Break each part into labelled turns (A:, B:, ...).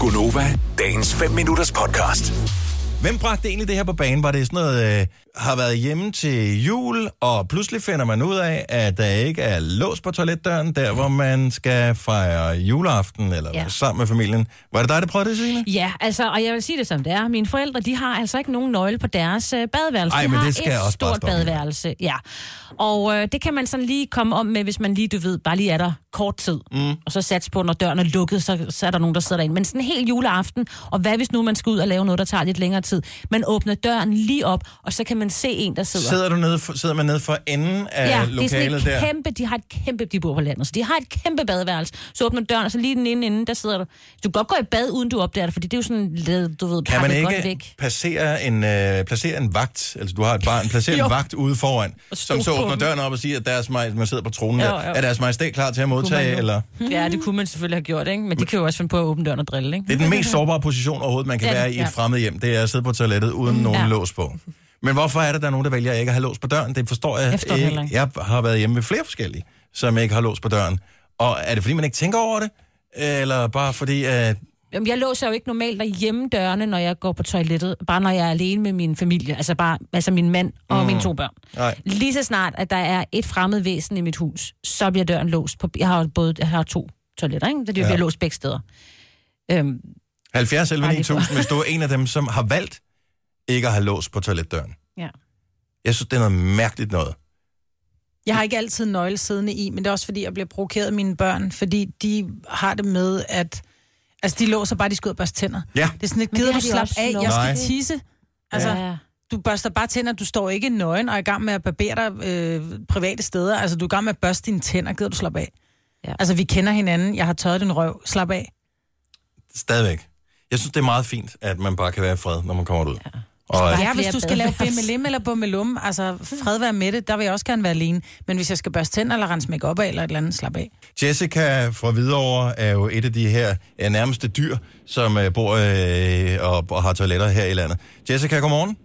A: Gunova, dagens 5 minutters podcast.
B: Hvem bragte egentlig det her på banen? Var det sådan noget, øh, har været hjemme til jul, og pludselig finder man ud af, at der ikke er lås på toiletdøren, der hvor man skal fejre juleaften, eller ja.
C: Ja.
B: sammen med familien. Var det dig, der prøvede det, Signe?
C: Ja, altså, og jeg vil sige det som det er. Mine forældre, de har altså ikke nogen nøgle på deres øh, badeværelse.
B: Ej,
C: de
B: men
C: har
B: det skal
C: et
B: jeg også bare
C: stort
B: stoppe med.
C: badeværelse, ja. Og øh, det kan man sådan lige komme om med, hvis man lige, du ved, bare lige er der kort tid. Mm. Og så sats på, når døren er lukket, så, så er der nogen, der sidder derinde. Men sådan helt juleaften, og hvad hvis nu man skal ud og lave noget, der tager lidt længere tid? Man åbner døren lige op, og så kan man se en, der sidder.
B: Sidder, du nede for, sidder man nede for enden af
C: Ja, det er sådan
B: lokalet
C: et
B: der?
C: kæmpe, de har et kæmpe, de bor på landet, så de har et kæmpe badeværelse. Så åbner døren, og så lige den ene ende, der sidder du. Du kan godt gå i bad, uden du opdager det, fordi det er jo sådan, lidt, du ved,
B: Kan man
C: pakket godt
B: ikke
C: væk.
B: placere en, øh, placere en vagt, altså du har et barn, placere
C: Jo.
B: en vagt ude foran, som
C: stå
B: så
C: på
B: åbner
C: den.
B: døren op og siger, at deres maj, man sidder på tronen
C: Jo,
B: der,
C: jo.
B: er deres majestæt klar til at modtage,
C: jo.
B: eller...
C: Ja, det kunne man selvfølgelig have gjort, ikke? Men de kan jo også finde på at åbne døren og drille, ikke?
B: Det er den mest sårbare position overhovedet, man kan
C: Ja,
B: være i
C: ja.
B: et fremmed hjem. Det er at sidde på toilettet uden nogen
C: ja.
B: lås på. Men hvorfor er det, der er nogen, der vælger ikke at have lås på døren? Det forstår jeg,
C: Jeg forstår det heller
B: ikke.
C: ikke.
B: Jeg har været hjemme med flere forskellige, som ikke har lås på døren. Og er det, fordi man ikke tænker over det? Eller bare fordi, øh, at...
C: Jamen, jeg låser jo ikke normalt derhjemme dørene, når jeg går på toilettet. Bare når jeg er alene med min familie. Altså, bare, altså min mand og mm. mine to børn.
B: Nej.
C: Lige så snart, at der er et fremmed væsen i mit hus, så bliver døren låst. På, jeg har jo både jeg har to toiletter, ikke? Så de bliver
B: Ja.
C: låst begge steder. Øhm,
B: 70 11
C: Bare lige for-
B: 9000, hvis du er en af dem, som har valgt ikke at have lås på toiletdøren.
C: ja.
B: Jeg synes, det er noget mærkeligt noget.
D: Jeg har ikke altid nøgle siddende i, men det er også fordi, jeg bliver provokeret af mine børn, fordi de har det med, at... Altså, de låser bare, de skal ud og børste tænder.
B: Ja.
D: Det er sådan lidt,
C: Men det
D: gider
C: har
D: du
C: de
D: slappe
C: også
D: af,
C: lov
D: jeg skal
B: til.
D: tisse. Altså, ja.
C: ja.
D: du børster bare tænder, du står ikke nøgen og er i gang med at barbere dig øh, private steder. Altså, du er i gang med at børste dine tænder, gider du slappe af?
C: Ja.
D: Ja. Altså, vi kender hinanden, jeg har tørret din røv, slap af.
B: Stadigvæk. Jeg synes, det er meget fint, at man bare kan være i fred, når man kommer ud. Ja. Og,
C: Bare
D: Ja,
C: flere
D: hvis du skal lave
C: badeværelser.
D: bimmelim eller bummelum, altså fred være med det, der vil jeg også gerne være alene. Men hvis jeg skal børste tænder eller rense make op af eller et eller andet, slap af.
B: Jessica fra Hvidovre er jo et af de her øh, nærmeste dyr, som øh, bor øh, og, og har toiletter her i landet. Jessica, godmorgen.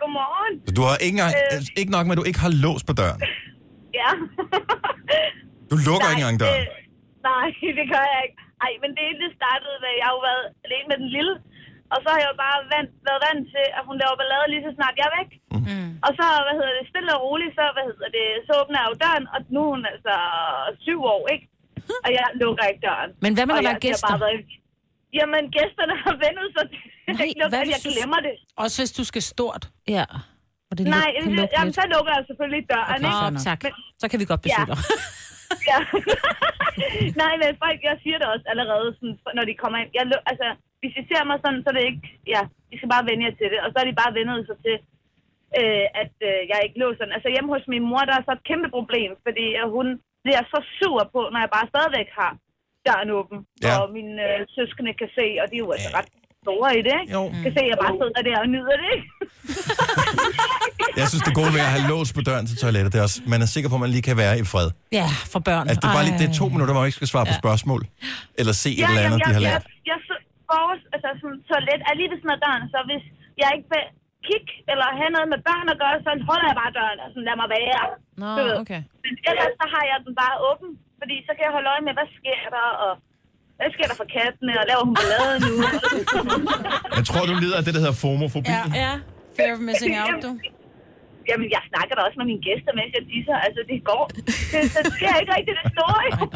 E: Godmorgen.
B: Så Du har ikke, engang, øh. ikke nok med, at du ikke har lås på døren.
E: Ja.
B: Du lukker ikke engang døren.
E: øh, nej, det gør jeg ikke. Ej, men det hele det startede med, at jeg har jo været alene med den lille. Og så har jeg jo bare vant, været vant til, at hun laver ballade lige så snart jeg er væk.
B: Mhm.
E: Mm. Og så, hvad hedder det, stille og roligt, så, hvad hedder det, så åbner jeg jo døren, og nu er hun altså syv år, ikke? Og jeg lukker ikke døren.
C: Men hvad med,
E: Og
C: når der
E: jeg-
C: er gæster?
E: jeg har Bare været... Jamen, gæsterne har vendet sig til,
C: Nej,
E: at
C: hvad
E: jeg, jeg
C: hvis du-
E: glemmer det.
D: Også hvis du skal stort.
C: Ja. Hvor det
E: Nej,
C: luk- kan lukke
E: jamen,
C: lidt.
E: så lukker jeg selvfølgelig døren, ikke?
C: Nå,
D: nok.
C: tak. Så kan vi godt besøge
E: Ja.
C: dig.
E: Ja. Nej, men folk, jeg siger det også allerede, sådan, når de kommer ind. Jeg, lu- altså, hvis de ser mig sådan, så er det ikke... Ja, de skal bare vende jer til det. Og så er de bare vendet sig til, øh, at øh, jeg ikke låser den. Altså hjemme hos min mor, der er så et kæmpe problem, fordi øh, hun bliver så sur på, når jeg bare stadigvæk har døren åben.
B: Ja.
E: Ja. Og mine øh, søskende kan se, og de er jo altså ret store i det, ikke?
B: Jo.
E: Kan se, at jeg bare sidder der og nyder det, ikke?
B: Jeg synes, det gode ved at have lås på døren til toilettet, det er også, man er sikker på, at man lige kan være i fred.
C: Ja, for børn.
B: Altså, det er bare lige, det er
C: Ej.
B: to minutter, hvor man ikke skal svare på spørgsmål. Eller se et eller andet,
E: jeg,
B: de har
E: jeg,
B: lært.
E: Jeg, jeg, så- vores, altså sådan, toilet er lige ved sådan af døren, så hvis jeg ikke vil kigge eller have noget med børn at gøre, så holder jeg bare døren og sådan, lad mig være.
C: Nå,
E: Du ved.
C: okay.
E: Men ellers så har jeg den bare åben, fordi så kan jeg holde øje med, hvad sker der, og hvad sker der for kattene, og laver hun ballade nu?
B: Jeg tror, du lider af det, der hedder fomofobi. Ja.
D: Ja.
C: Ja.
D: Fear of missing out, du.
E: Jamen, jeg snakker da også med mine gæster, mens jeg disser. Altså, det går. Det, så det er ikke rigtig det store. jo.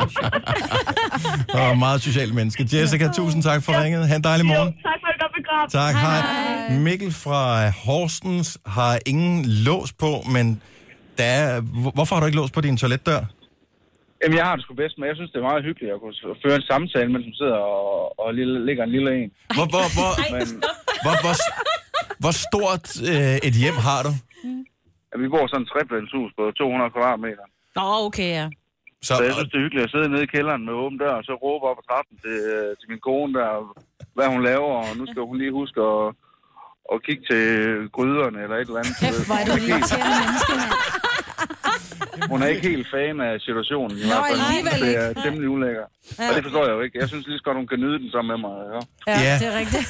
B: Og meget socialt menneske. Jessica, tusind tak for ringet. Ha' en dejlig
E: Jo,
B: morgen.
E: tak for et godt program.
B: Tak, hej. hej. Mikkel fra Horsens har ingen lås på, men der er, hvor- hvorfor har du ikke lås på din toiletdør?
F: Jamen, jeg har det sgu bedst med. Jeg synes, det er meget hyggeligt at kunne s- føre en samtale, mens man sidder og, og lille, ligger en lille en.
B: Hvor, hvor, hvor,
F: Men
B: hvor, hvor, hvor stort øh, et hjem har du?
F: at vi bor i sådan et treplanshus på 200 kvadratmeter.
C: Nå, okay, ja.
B: Så,
F: Så jeg synes, det er hyggeligt at sidde nede i kælderen med åben dør, og så råbe op ad trappen til, øh, til min kone der, hvad hun laver, og nu skal hun lige huske at, at kigge til gryderne eller et eller andet. du ved.
D: Kæft, hvor er du en irriterende menneske, mand.
F: Hun er ikke helt fan af situationen. I
D: Nå,
F: hvert fald.
D: alligevel
F: Det er temmelig ulækker. Og det forstår jeg jo ikke. Jeg synes lige så godt, hun kan nyde den sammen med mig. Ja.
D: Ja,
B: Ja.
D: det er rigtigt.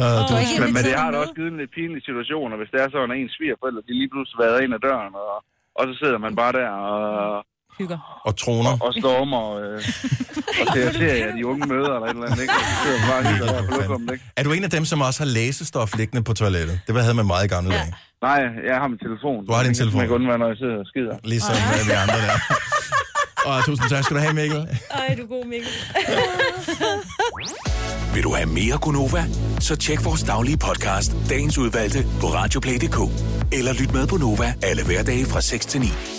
B: øh,
D: Du
B: du,
D: er ikke
F: Men, men det
D: inviteret
F: har da
D: med.
F: også givet en lidt pinlig situation, og hvis det er sådan, at ens svigerforældre, de lige pludselig været ind ad døren, og, og så sidder man bare der og,
C: hygger.
B: og troner.
F: og stormer øh, og ser serier, de unge møder eller et eller andet, ikke? Og så sidder man bare og hygger der på lokummet, ikke?
B: Er du en af dem, som også har læsestof liggende på toilettet? Det havde man meget i gamle dage.
F: Nej, jeg har min telefon.
B: Du har din telefon.
F: Jeg kan undvære, når jeg sidder og skider.
B: Ligesom øh, vi andre der. Og tusind tak skal du have, Mikkel.
C: Ej, du er god, Mikkel.
A: Vil du have mere Gunova? Så tjek vores daglige podcast, dagens udvalgte, på radioplay.dk. Eller lyt med på Nova alle hverdage fra 6 til 9.